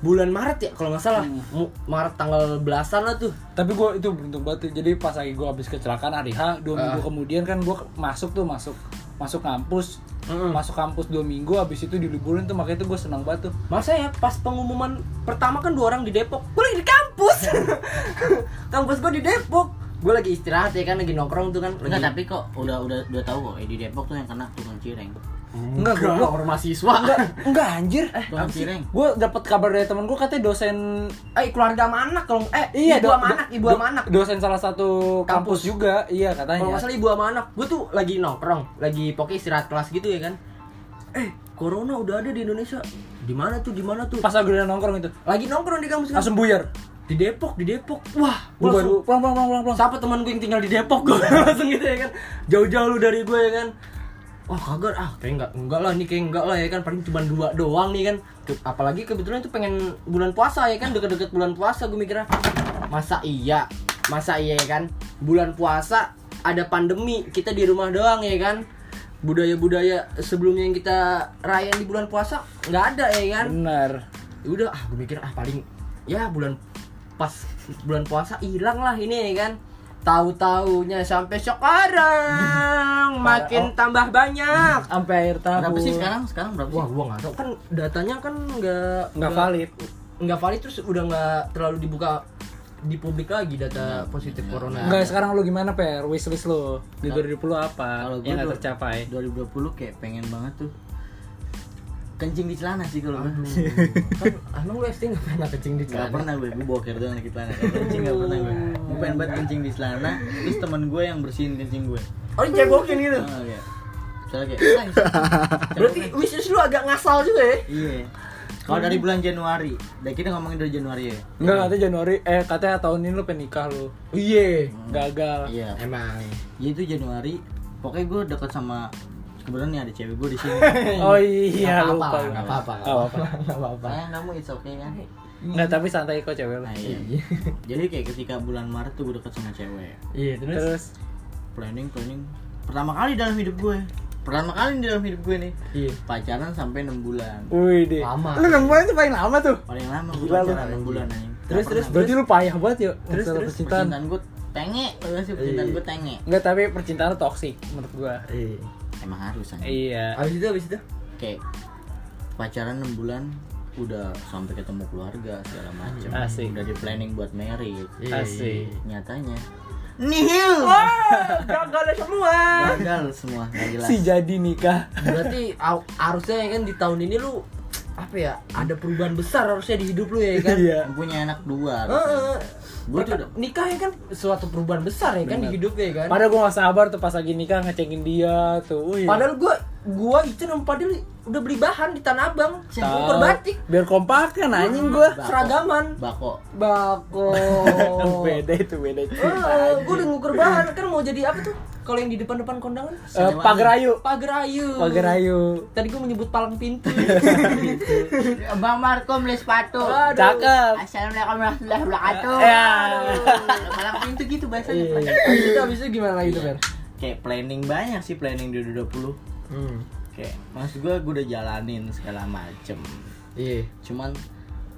A: bulan Maret ya kalau nggak salah. Mu- Maret tanggal belasan lah tuh.
B: tapi gue itu beruntung banget tuh. jadi pas lagi gue habis kecelakaan hari H dua minggu kemudian kan gue masuk tuh masuk masuk kampus
A: Mm-mm.
B: masuk kampus dua minggu habis itu diliburin tuh makanya tuh gue senang banget tuh
A: Masa ya pas pengumuman pertama kan dua orang di Depok Gue lagi di kampus [laughs] Kampus gue di Depok Gue lagi istirahat ya kan lagi nongkrong tuh kan lagi...
C: Enggak, tapi kok udah udah udah tahu kok eh, di Depok tuh yang kena tukang cireng.
A: Enggak,
B: Enggak,
A: gua
B: gua-
A: orang mahasiswa
B: enggak enggak anjir
C: Tukang cireng.
B: gue dapet kabar dari temen gue katanya dosen iya,
A: Eh keluarga sama anak kalau Eh ibu
B: do-
A: sama
B: do-
A: anak Ibu
B: do-
A: sama anak
B: dosen salah satu kampus,
A: Kampus.
B: juga iya
A: Kalau
B: katanya
A: nggak salah ibu sama anak Gue tuh lagi nongkrong Lagi pokoknya istirahat kelas gitu ya kan Eh corona udah ada di Indonesia di mana tuh di mana tuh
B: pas lagi udah nongkrong itu
A: lagi nongkrong di kampus kan
B: langsung buyar
A: di Depok di Depok wah
B: gue
A: gua langsung-
B: baru pulang pulang pulang pulang, pulang.
A: siapa teman gue yang tinggal di Depok [laughs] gue langsung gitu ya kan jauh-jauh lu dari gue ya kan wah kagak ah kayak enggak enggak lah nih kayak enggak lah ya kan paling cuma dua doang nih kan Ke- apalagi kebetulan itu pengen bulan puasa ya kan deket-deket bulan puasa gue mikirnya masa iya masa iya ya kan bulan puasa ada pandemi kita di rumah doang ya kan budaya-budaya sebelumnya yang kita rayain di bulan puasa nggak ada ya kan
B: benar
A: Ya udah ah gue mikir ah paling ya bulan pas bulan puasa hilang lah ini ya kan tahu taunya sampai [laughs] sekarang makin tambah banyak
B: sampai akhir tahun
C: Berapa sih sekarang? Sekarang berapa
A: [laughs] wah
C: sih?
A: gua nggak tahu kan datanya kan nggak
B: nggak valid
A: nggak valid terus udah nggak terlalu dibuka di publik lagi data positif corona
B: Enggak, sekarang lu gimana, Per? Wishlist lu di 2020 apa
C: Kalau gua
B: yang gak Ya
C: dua-
B: tercapai?
C: 2020 kayak pengen banget tuh kencing di celana sih kalau gue. [laughs]
A: kan emang lu SD nggak pernah kencing di
C: Gak
A: celana
C: pernah gue, gue boker doang di celana Kalau Kencing gak pernah gue Gue pengen banget kencing di celana Terus temen gue yang bersihin kencing gue
A: oh cebokin gitu
C: Oh iya Misalnya kayak "Nay, siapa
A: berarti
C: nih?"
A: wishlist lu agak ngasal juga ya
C: Iya Kalau dari bulan Januari Dan kita ngomongin dari Januari ya
B: Enggak, katanya Januari eh katanya tahun ini lu pengen nikah lu. Oh,
A: iya
B: Gagal.
C: Iya
A: emang
C: Jadi itu Januari Pokoknya gue deket sama Kebetulan nih ada cewek gue di sini.
B: [laughs] Oh iya,
A: Nggak
B: lupa.
A: apa-apa, nggak apa-apa
B: Nggak apa-apa.
A: nggak apa-apa
C: Sayang kamu it's okay kan?
B: Enggak, tapi santai kok cewek lu.
C: Nah, iya. Jadi kayak ketika bulan Maret tuh gue deket sama cewek.
A: iya terus
B: Terus
C: Planning, planning. Pertama kali dalam hidup gue. Pertama kali dalam hidup gue nih.
A: Iya.
C: Pacaran sampai 6 bulan.
B: Wih deh.
A: Lama.
B: Lu nemuin tuh paling lama tuh.
C: paling lama gue
B: Gila lu.
C: pacaran 6 bulan anjing
A: Terus,
C: Gak pernah.
B: Berarti lu payah banget ya terus
A: terus.
B: percintaan. Iya.
C: percintaan gue tenge lu sih percintaan gue tenge
B: Enggak, tapi percintaan lu toksik menurut gua.
A: Iya.
C: emang harus anjing
B: Iya.
A: Abis itu abis itu.
C: kayak pacaran 6 bulan udah sampai ketemu keluarga segala macam
B: Asik. Iya.
C: udah di planning buat married
A: Oh, iya,
B: Asik.
C: nyatanya nihil
B: Ah,
A: Gagal semua.
C: gagal semua nggak jelas
B: Si jadi nikah.
A: Berarti au- harusnya ya kan di tahun ini lu apa ya? Ada perubahan besar harusnya di hidup lu ya kan.
B: Iya.
C: punya anak dua
A: Heeh.
C: gue tuh udah
A: nikah ya kan suatu perubahan besar ya kan di hidup ya kan.
B: Padahal gua gak sabar tuh pas lagi nikah ngecengin dia tuh. Wih.
A: Padahal gua gua itu sama Padil udah beli bahan di Tanah Abang,
B: Tahu.
A: bungker batik,
B: Biar kompak kan anjing gua.
A: seragaman,
C: bako
A: [laughs] bako.
B: beda itu beda itu.
A: Eh, gua udah ngukur bahan kan mau jadi apa tuh? Kalau yang di depan-depan kondangan,
B: Eh, pagar ayu.
A: pagar ayu.
B: Pagar ayu.
A: Tadi gua menyebut palang
B: [laughs]
A: pintu.
C: bang Marco beli sepatu
A: Aduh.
B: Cakep.
C: assalamualaikum warahmatullahi wabarakatuh
B: Ya.
C: malam pintu gitu bahasanya
A: Abis itu abis itu gimana lagi tuh, Fer?
C: kayak planning banyak sih planning di 2020
A: Hmm.
C: kayak maksud gue gue udah jalanin segala macem
A: Iya.
C: cuman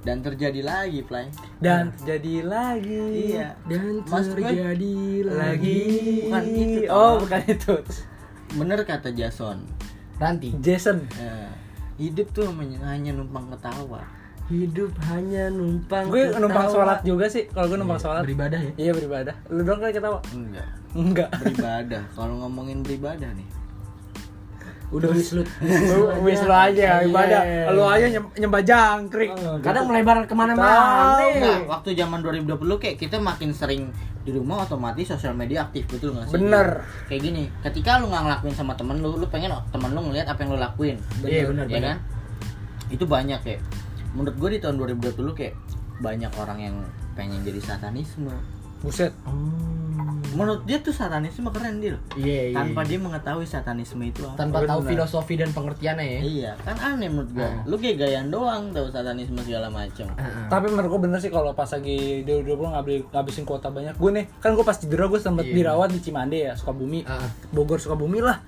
C: dan terjadi lagi play Iya.
B: Dan jadi lagi.
A: Iya, Dan
C: Maksud gue-
A: terjadi lagi
C: Bukan itu, Tom.
B: Oh, bukan itu.
C: bener kata Jason
A: Ranti.
B: Jason.
C: Eh, hidup tuh men- hanya numpang ketawa
A: Hidup hanya numpang.
B: Gue
A: ketawa.
B: numpang sholat juga sih. Kalau gue numpang sholat.
A: Beribadah ya.
B: Iya beribadah. Lu doang kali ketawa?
C: enggak
B: Enggak.
C: beribadah kalau ngomongin beribadah nih
A: Udah wislut.
B: Lu wis lu aja
A: Iya.
B: ibadah. Lu aja nyem- nyembah jangkrik.
A: Kadang melebar
B: Tahu.
A: kemana-mana.
C: Nah, waktu zaman 2020 kayak kita makin sering di rumah otomatis sosial media aktif betul nggak sih?
B: Bener.
C: Kayak gini, ketika lu nggak ngelakuin sama temen lu, lu pengen temen lu ngeliat apa yang lu lakuin.
A: Iya, bener,
C: ya
A: bener.
C: kan? Itu banyak ya. Menurut gue di tahun 2020 kayak banyak orang yang pengen jadi satanisme.
B: Buset.
C: Menurut dia tuh satanisme keren dia.
A: Iya, iya.
C: Tanpa dia mengetahui satanisme itu apa.
A: tanpa tahu
B: Benar.
A: filosofi dan pengertiannya ya.
C: Iya, kan aneh menurut gue.
A: Ah.
C: Lu kayak gayaan doang tahu satanisme segala macam.
B: Tapi menurut gue bener sih kalau pas lagi 2020 nggak beli- ngabisin kuota banyak. Gue nih, kan gue pas cedera gue sempet dirawat di Cimande ya, Sukabumi.
A: Iya. Ah.
B: Bogor Sukabumi lah.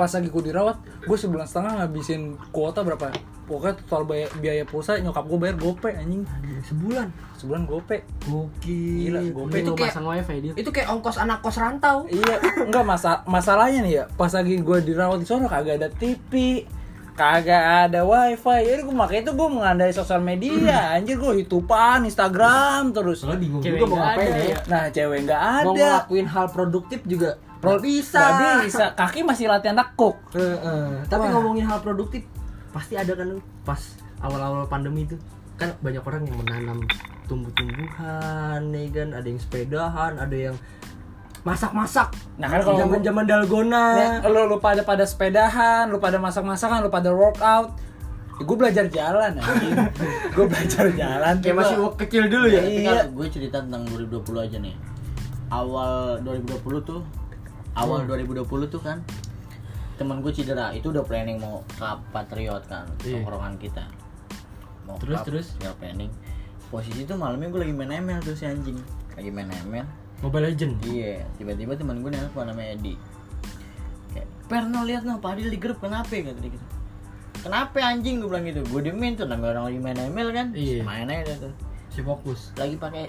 B: pas lagi gue dirawat gue sebulan setengah ngabisin kuota berapa pokoknya total biaya, biaya pulsa nyokap gue bayar gope anjing
A: sebulan
B: sebulan gope
A: gokil
B: Gila,
A: itu
B: gokil.
D: Itu
A: kayak
D: pasang wifi dia.
A: itu kayak ongkos anak kos rantau
B: iya enggak masa masalahnya nih ya pas lagi gue dirawat di sana kagak ada TV kagak ada wifi jadi gue makanya itu gue mengandai sosial media anjir gue hitupan Instagram terus
A: soalnya bingung
D: Cewek
A: juga mau
D: nggak
A: ngapain
D: ada
A: ya
D: ya.
B: nah cewek nggak
A: mau
B: ada
A: ngelakuin hal produktif juga
B: Pro-
A: nggak bisa
B: nggak bisa kaki masih latihan nekuk
A: Heeh. tapi
B: Wah.
A: ngomongin hal produktif pasti ada kan lu pas awal-awal pandemi itu kan banyak orang yang menanam tumbuh-tumbuhan ya kan ada yang sepedahan ada yang masak-masak
B: Nah, kan kalau
A: zaman zaman dalgona
B: Nih, lu, lu Ya, pada pada sepedahan, lu pada masak-masakan, lu pada workout. gue belajar jalan [laughs] anjing. gue belajar jalan.
A: kayak masih
B: Gua-
A: kecil dulu ya
B: Iya.
C: Tapi kalau gue cerita tentang 2020 aja nih. Awal 2020 tuh
A: Hmm.
C: awal 2020 tuh kan temen gue cedera itu udah planning mau ke Patriot kan
A: Iya.
C: tongkrongan kita mau
D: Terus,
C: ke-
D: terus?
C: ya planning posisi tuh malamnya gue lagi main ML tuh si anjing lagi main ML
A: mobile legend
C: Iya, tiba-tiba teman gue nelfon namanya Edi. Kayak, "Per, no lihat no, Pak Adil di grup kenapa?" kata dia gitu. "Kenapa anjing?" gue bilang gitu. Gue demin tuh namanya orang lagi main ML kan.
A: Iya.
C: Main aja tuh.
A: si fokus
C: Lagi pakai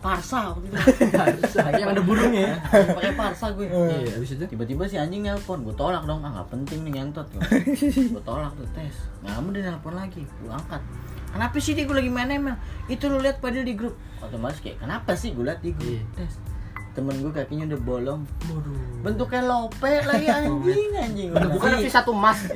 C: parsa waktu itu.
A: [laughs] yang ada burungnya
C: Lagi pakai parsa gue.
A: iya abis itu
C: Tiba-tiba si anjing nelpon, gue tolak dong, ah nggak penting nih ngentot gue. Gue tolak tuh tes, nggak dia nelpon lagi, gue angkat. Kenapa sih dia gue lagi main ML? Itu lu lihat padahal di grup. Otomatis kayak kenapa sih gue lihat di grup?
A: Iya.
C: Tes, temen gue kakinya udah bolong.
A: waduh
C: Bentuknya lope
A: [laughs]
C: lagi anjing anjing. Udah
A: bukan
C: sih.
A: lebih satu emas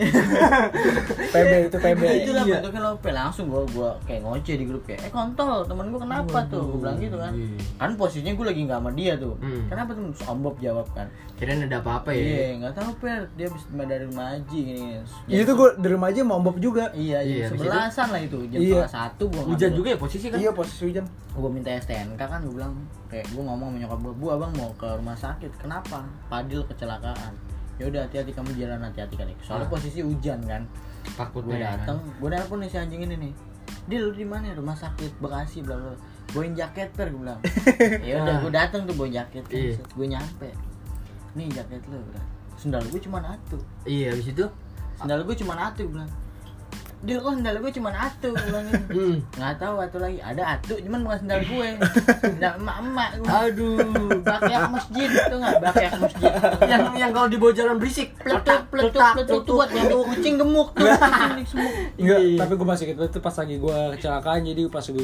B: PB [laughs] itu Iya. PB.
C: Nah, Itulah
A: Iya.
C: bentuknya lope langsung gua gua kayak ngoceh di grup kayak eh kontol temen gua kenapa tuh gua bilang gitu kan.
A: Iya.
C: Kan posisinya gua lagi nggak sama dia tuh.
A: Hmm.
C: Kenapa tuh Terus Om Bob jawab kan.
A: kirain ada apa-apa ya
C: Iya, nggak tahu per dia habis dari rumah Haji gini.
B: Ya, Itu gue di rumah aja mau ombok juga.
A: Iya,
C: Iya, iya,
A: habis
C: sebelasan lah itu jam
B: Iya.
C: setengah satu gua
A: hujan
C: ngambil-
A: juga ya posisi kan
B: Iya posisi hujan.
C: gue minta STNK kan gue bilang kayak gue ngomong sama nyokap gue bu abang mau ke rumah sakit kenapa padil kecelakaan ya udah hati-hati kamu jalan hati-hati kali soalnya
A: Ah.
C: posisi hujan kan gue
A: takutnya
C: dateng gue nelpon nih si anjing ini nih Dil lu di mana rumah sakit Bekasi bla bla bla. bawain jaket per gue
A: [laughs]
C: bilang ya udah gue dateng tuh bawain jaket kan.
A: Nah. Iya.
C: gue nyampe nih jaket lu gue bilang. sendal gue cuma satu
A: iya abis itu
C: sendal gue cuma satu gue bilang Dil kok sendal gue cuma satu gue bilang gitu.
A: [laughs] hmm.
C: Nggak tahu atuh lagi. Ada atu cuman bukan sendal
A: [laughs]
C: gue. Sendal emak-emak. Aduh, bakyak masjid itu enggak bakyak masjid.
A: yang yang kalau di bawah jalan berisik
C: Pletuk, pletuk, pletuk, buat nyampe kucing gemuk
A: [laughs]
C: tuh, kucing di semua.
B: Enggak, tapi gue masih gitu itu pas lagi gue kecelakaan jadi pas gue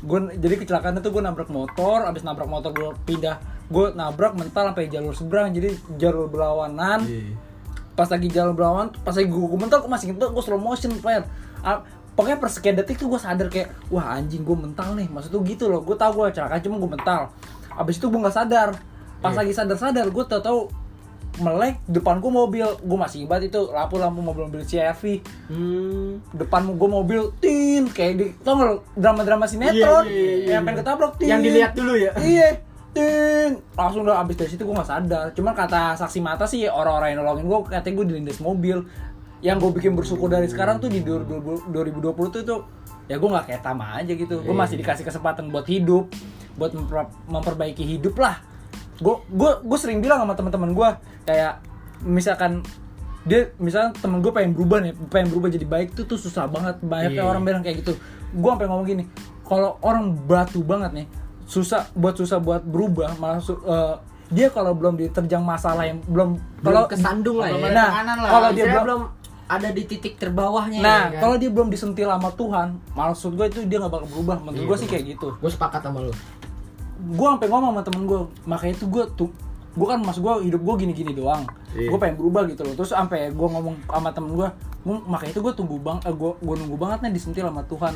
B: gue jadi kecelakaan itu gue nabrak motor, abis nabrak motor gue pindah gue nabrak mental sampai jalur seberang jadi jalur berlawanan.
A: Iya.
B: pas lagi jalan berlawan pas lagi gue mental gue masih ngentot gue slow motion player Ah, pokoknya per sekian detik tuh gue sadar kayak wah anjing gue mental nih maksud tuh gitu loh gue tau gue celaka cuma gue mental abis itu gue nggak sadar pas lagi sadar sadar gue tau tau melek depan gue mobil gue masih ingat itu lampu lampu mobil mobil CRV
A: hmm.
B: depan gue mobil tin kayak di tau nggak lo drama drama sinetron
A: Iya, iya, iya.
B: yang pengen ketabrak tin
A: Yang dilihat dulu ya?
B: iya tin langsung udah abis dari situ gue nggak sadar cuman kata saksi mata sih orang-orang yang nolongin gue katanya gue dilindas mobil yang gue bikin bersyukur dari sekarang tuh di 2020 2020 tuh tuh ya gue nggak kayak tama aja gitu gue
A: Iya,
B: masih dikasih kesempatan buat hidup buat memper- memperbaiki hidup lah gue gue gue sering bilang sama teman-teman gue kayak misalkan dia misalnya temen gue pengen berubah nih pengen berubah jadi baik tuh tuh susah banget banyaknya
A: Iya.
B: orang bilang kayak gitu gue sampai ngomong gini kalau orang batu banget nih susah buat susah buat berubah malah su- eh, dia kalau belum diterjang masalah yang belum
A: kalau
B: kalau
A: kesandung lah
C: kalau
A: ya
B: nah
C: tekanan lah.
B: kalau dia
A: Misalnya
B: belum
A: belum ada di titik terbawahnya
B: nah
A: ya kan?
B: kalau dia belum disentil sama Tuhan maksud gue itu dia nggak bakal berubah menurut
A: Iya,
B: gue sih
A: bener.
B: kayak gitu
A: gue sepakat sama lu
B: gue sampai ngomong sama temen gue makanya itu gue tuh gue kan mas gue hidup gue gini-gini doang
A: Iya.
B: gue pengen berubah gitu loh terus sampai gue ngomong sama temen gue "Mung, makanya itu gue tunggu bang eh, gue gue nunggu banget nih disentil sama Tuhan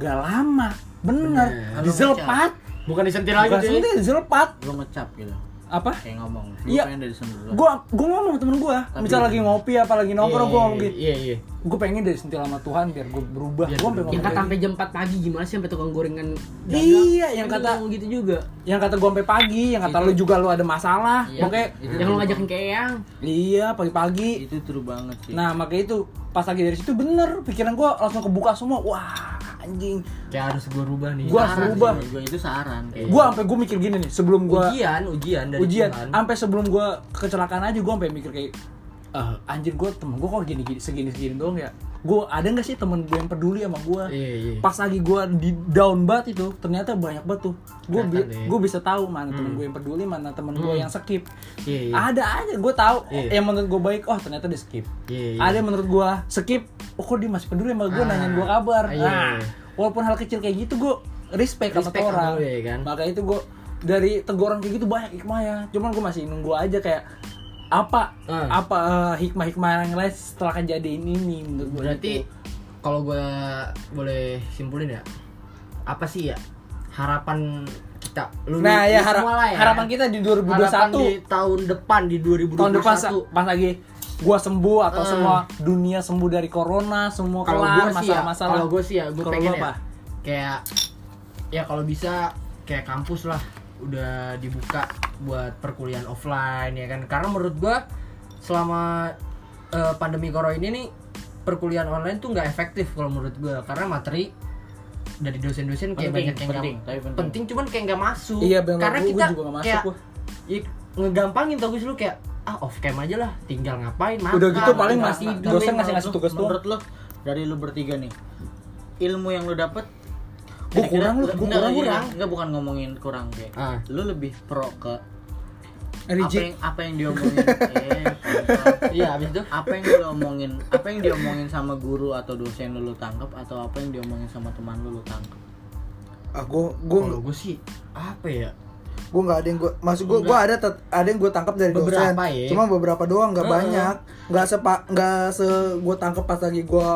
B: gak lama bener,
A: Bener.
B: diselpat
A: bukan disentil
B: gak sentil diselpat
C: Gue ngecap gitu.
B: apa
C: Kayak ngomong. Lu
B: Iya.
C: pengen dari sendal.
B: gue gue ngomong sama temen gue misal lagi ngopi apa lagi nongkrong gue ngomong gitu
A: iya iya
B: gue pengen disentil sama Tuhan biar gue berubah
A: Biar
B: gue sampai
A: berubah.
B: ngomong
D: Yang kata
B: kayak gitu.
D: sampai jam 4 pagi gimana sih sampai tukang gorengan dagang?
B: Iya, yang
D: Kan
B: kata-
D: ngomong gitu juga.
B: gitu. yang kata gue sampai pagi yang kata lu juga lu ada masalah
C: Iya.
B: Pokoknya,
C: Itu
D: yang lo
C: true
D: ngajakin ke Eyang.
B: iya, pagi-pagi
C: Itu true banget sih.
B: Nah makanya itu pas lagi dari situ bener pikiran gua langsung kebuka semua. Wah anjing.
A: kayak harus gue rubah nih
B: Gua-
C: Saran
B: berubah.
C: sih, menurut Iya, Gua itu saran kayak.
B: Gua sampai gua mikir gini nih sebelum gua
A: ujian ujian dari
B: ujian,
A: Tuhan.
B: sampai sebelum gua kecelakaan aja gua sampai mikir kayak eh, anjir gue temen gue kok gini gini segini segini doang ya gue ada nggak sih temen gue yang peduli sama gue
A: Iya, iya.
B: pas lagi gue di down banget itu ternyata banyak banget tuh gue
A: Kelihatan iya. deh.
B: gue bisa tahu mana temen gue yang peduli mana temen gue yang skip
A: Iya, iya.
B: ada aja gue tahu
A: Iya.
B: yang menurut gue baik oh ternyata dia skip
A: Iya, iya.
B: ada yang menurut gue skip oh kok dia masih peduli sama gue
A: Ah,
B: nanyain gue kabar
A: iya,
B: Nah,
A: iya.
B: walaupun hal kecil kayak gitu gue respect, sama
A: Respect
B: tuh
A: sama
B: orang
A: lu ya, kan?
B: maka itu gue gitu dari teguran kayak gitu banyak hikmahnya cuman gue masih nunggu aja kayak apa
A: Ah.
B: apa eh, hikmah-hikmah yang lain setelah kejadian ini menurut gitu. gue
A: Berarti kalau gue boleh simpulin ya, apa sih ya harapan kita? Lu,
B: Nah,
A: lu
B: ya,
A: semua
B: harap-
A: lah ya.
B: harapan kita di 2021.
A: Harapan di tahun depan di 2021.
B: tahun depan sa- pas lagi gua sembuh atau
A: Eh.
B: semua dunia sembuh dari corona semua
A: kalau
B: kelar
A: gue sih ya,
B: masalah-masalah
A: kalau gue sih ya, gue
B: Kalau
A: pengen
B: lu apa?
A: ya, kayak ya kalau bisa kayak kampus lah udah dibuka buat perkuliahan offline ya kan karena menurut gue selama eh, pandemi corona ini nih perkuliahan online tuh nggak efektif kalau menurut gue karena materi dari dosen-dosen kayak
C: Penting,
A: banyak yang nggak-
C: penting, tapi penting.
A: cuman kayak nggak masuk
B: Iya, bener.
A: karena
B: Gua- gua
A: kita
B: juga nggak masuk,
A: kayak
B: gua.
A: ya, ngegampangin tau gue sih lu kayak ah off cam aja lah tinggal ngapain makan
B: Udah
C: Nah,
B: gitu paling
A: tinggal
B: masih
A: tidur.
B: dosen
C: Tapi
B: ngasih ngasih
C: menurut lu-
B: tugas doang.
C: nah, Menurut lo dari lu bertiga nih, ilmu yang lu dapet
B: Gua kurang lu,
C: enggak,
B: gua kurang,
C: enggak,
B: kurang.
C: enggak, bukan ngomongin kurang kayak.
A: Ah.
C: Lu lebih pro ke apa
B: Rigid.
C: yang apa yang diomongin. Eh,
A: iya abis itu
C: apa yang lu omongin, apa yang diomongin sama guru atau dosen lu, lu tangkap atau apa yang diomongin sama teman lu lu tangkap.
E: ah gue gue
A: kalau gue sih apa ya
E: gue nggak ada yang gue maksud gue gue ada tet- ada yang gue tangkap dari dosen
A: Beberapa ya.
E: cuma beberapa doang nggak banyak nggak sepa nggak se gue tangkap pas lagi gue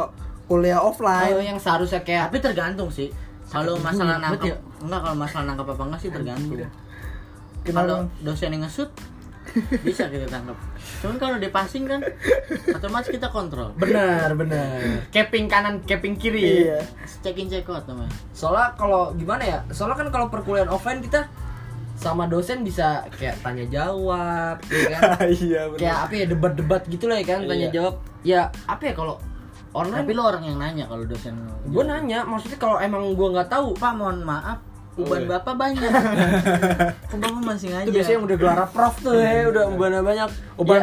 E: kuliah
A: Kalau
E: offline
A: yang seharusnya kayak
C: Tapi tergantung sih.
A: Iya,
C: Kalau masalah nangkap, enggak kalau masalah nangkap apa enggak sih tergantung. Kalau
E: kenapa
C: dosen yang
A: [laughs]
C: ngesut bisa kita tangkap. Cuman kalau dia passing kan otomatis kita kontrol.
A: benar benar keping kanan keping kiri
E: iya
C: Check in check out namanya.
A: soalnya kalau gimana ya soalnya kan kalau perkuliahan offline kita sama dosen bisa kayak tanya jawab ya kan
B: Oh.
E: [laughs] iya benar
A: [laughs] kayak apa ya debat-debat gitu lah ya kan tanya jawab ya apa ya kalau online
C: Tapi lo orang yang nanya kalau dosen
A: gue nanya maksudnya kalau emang gue nggak tahu
C: Pak mohon maaf, uban Bapak
A: [laughs]
C: banyak. Kok Bapak masih
A: Oh,
C: ngajar?
A: iya. itu biasanya yang udah gelar prof tuh ya udah banyak banyak
B: uban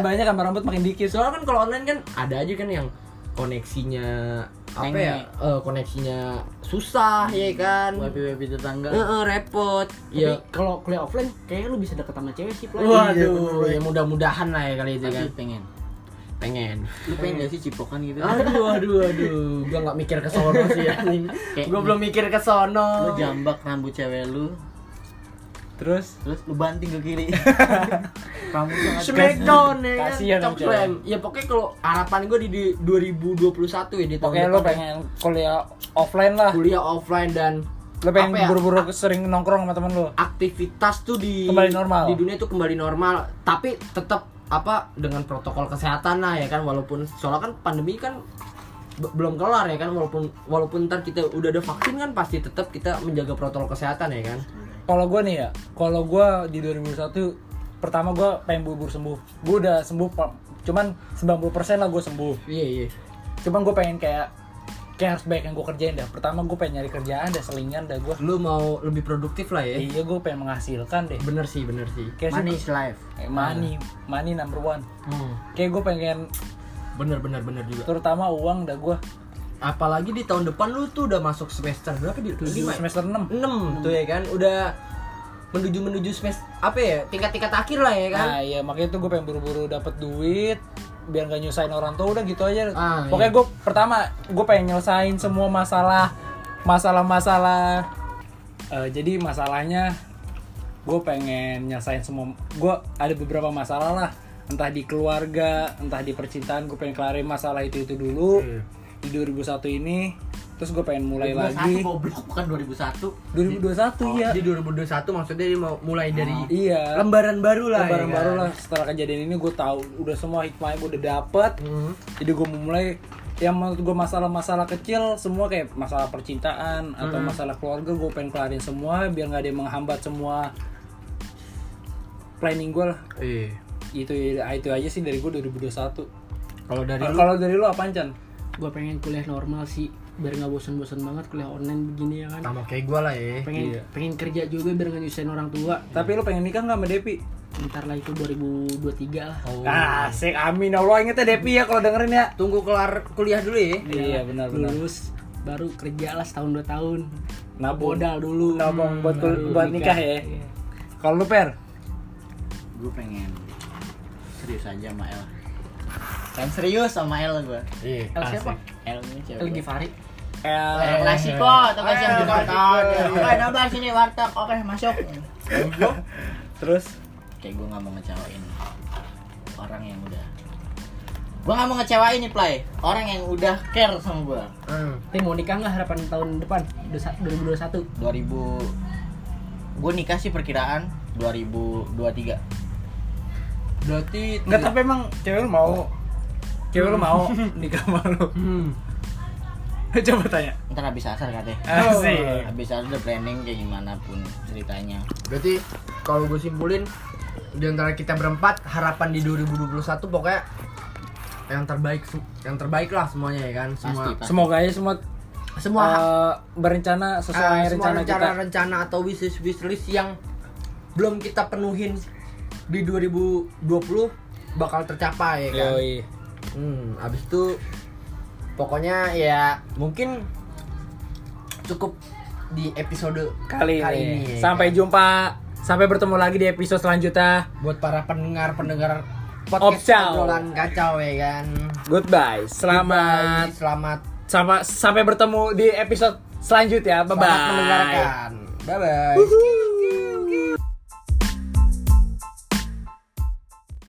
A: Ya,
B: banyak sama rambut makin dikit soalnya
A: soalnya kan kalau online kan ada aja kan yang koneksinya apa
C: Nengok.
A: ya eh, koneksinya susah ya kan
C: Wapi-wapi tetangga.
A: Eh, eh, repot
D: Tapi
A: ya
D: kalau kuliah offline kayaknya lu bisa deket sama cewek sih Play.
E: Iya,
A: Waduh,
E: bener-bener.
A: ya mudah-mudahan lah ya kali itu
C: Pasti
A: kan.
C: pengen.
A: Pengen.
C: Lu
A: Iya.
C: pengen gak sih cipokan gitu?
A: Aduh, aduh, aduh. Gua nggak mikir ke sono sih ya, anjing.
C: Kayak-
A: Gua belum mikir ke sono.
C: Lu jambak rambut cewek lu,
B: terus
C: terus lu banting ke kiri.
A: [laughs]
C: Kamu sangat
A: Smackdown ya kan.
B: Kasihan
A: Cok
B: aja.
A: slam. Ya pokoknya kalau harapan gua di di 2021 ya di tahun
B: pokoknya lo
A: depan
B: pengen kuliah offline lah
A: kuliah offline dan
B: lo pengen
A: apa ya,
B: buru-buru sering nongkrong sama temen lo
A: aktivitas tuh di
B: Kembali normal.
A: di dunia tuh kembali normal tapi tetap apa dengan protokol kesehatan lah ya kan walaupun soalnya kan pandemi kan be- belum kelar ya kan walaupun walaupun ntar kita udah ada vaksin kan pasti tetap kita menjaga protokol kesehatan ya kan
B: kalau gue nih ya kalau gue di 2021 pertama gue pengen buru-buru sembuh gue udah sembuh pa- cuman 90% lah gue sembuh
A: iya iya
B: cuman gue pengen kayak kayak harus banyak yang gue kerjain dah pertama gue pengen nyari kerjaan dah selingan dah gue
A: lu mau lebih produktif lah ya
B: iya gue pengen menghasilkan deh
A: bener sih bener sih
B: kayak sih-
C: Money is life.
B: Eh, money money number one
A: Hmm,
B: kayak gue pengen
A: bener bener bener juga
B: terutama uang dah gue
A: apalagi di tahun depan lu tuh udah masuk semester berapa di lima ya?
B: semester Hmm. 6
A: enam tuh ya kan udah menuju menuju semester apa ya tingkat tingkat akhir lah ya kan
B: nah iya makanya tuh gue pengen buru-buru dapet duit biar gak nyusahin orang tua udah gitu aja
A: Ah,
B: pokoknya gue pertama gue pengen nyelesain semua masalah masalah-masalah Eh, jadi masalahnya gue pengen nyelesain semua gue ada beberapa masalah lah entah di keluarga entah di percintaan gue pengen kelarin masalah itu itu dulu di 2001 ini terus gue pengen mulai lagi
C: 2021 goblok bukan 2001.
B: 2021 iya
A: Oh, Jadi 2021 maksudnya dia mau mulai dari Hmm.
B: iya
A: lembaran baru lah.
B: Lebaran
A: ya
B: baru
A: kan?
B: lah setelah kejadian ini gue tahu udah semua hikmahnya gue udah dapet
A: Hmm.
B: jadi gue mulai yang menurut gue masalah-masalah kecil semua kayak masalah percintaan atau masalah keluarga gue pengen kelarin semua biar nggak ada yang menghambat semua planning gue lah
A: Iya.
B: itu itu aja sih dari gue 2021
A: Kalau dari lu
B: kalau dari Iya. lo apaan Chan?
D: Gua pengen kuliah normal sih biar nggak bosan-bosan banget kuliah online begini ya
B: Ah,
D: kan.
A: sama kayak gua lah ya.
B: iya.
D: Pengen pengen kerja juga biar nggak nyusahin orang tua.
B: tapi lo pengen nikah nggak sama Depi?
D: bentar lah itu 2023 lah
A: Oh.
B: Asik, amin. Allah ingetnya Depi ya kalau dengerin ya.
A: Tunggu kelar kuliah dulu ya.
B: Iya, benar, benar.
D: lulus baru kerja lah setahun dua tahun
B: Nabung.
D: modal dulu
B: Nabung buat kul-
D: baru
B: buat nikah ya?
D: Iya.
B: Kalau lu per,
C: gue pengen serius aja sama El pengen serius sama El gue
A: Iya.
D: El siapa?
C: El ini
B: Iya,
C: cewek
D: El
C: gua. Eh,
D: Gifari
B: Eh.
C: El Klasiko, tukang
B: El
C: siap di warteg.
B: Klasiko,
C: Oke, nobar sini warteg. Oke, masuk.
B: terus
C: Kayak gue nggak mau ngecewain orang yang udah. Gue nggak mau ngecewain nih play. Orang yang udah care sama gue.
D: Tapi mau nikah nggak harapan tahun depan Dua- 2021
C: 2000 gue nikah sih perkiraan 2023
A: Berarti
B: nggak tapi emang cewek lu mau cewek lu mau [laughs] nikah sama lu
A: Hmm.
B: [laughs] coba tanya
C: ntar habis asar katanya
B: asik
C: habis asar udah planning kayak gimana pun ceritanya
A: Berarti kalau gue simpulin di antara kita berempat harapan di 2021 pokoknya yang terbaik se- yang terbaik lah semuanya ya kan semua
C: pasti pasti
B: semoga ya semua
A: semua
B: eh, berencana
A: eh,
B: sesuai
A: semua
B: rencana
A: rencana,
B: kita
A: rencana atau wishlist wishlist yang belum kita penuhin di 2020 bakal tercapai ya kan
B: Yoi.
A: Hmm, abis itu pokoknya ya mungkin cukup di episode
B: kali,
A: kali
B: ini.
A: ini,
B: sampai
A: kan?
B: jumpa sampai bertemu lagi di episode selanjutnya
A: buat para pendengar-pendengar podcast
B: Opcal.
A: obrolan kacau ya kan.
B: goodbye selamat
A: Goodbye, selamat
B: sampai sampai bertemu di episode selanjutnya bye
A: selamat
B: bye
A: mendengarkan. Bye bye.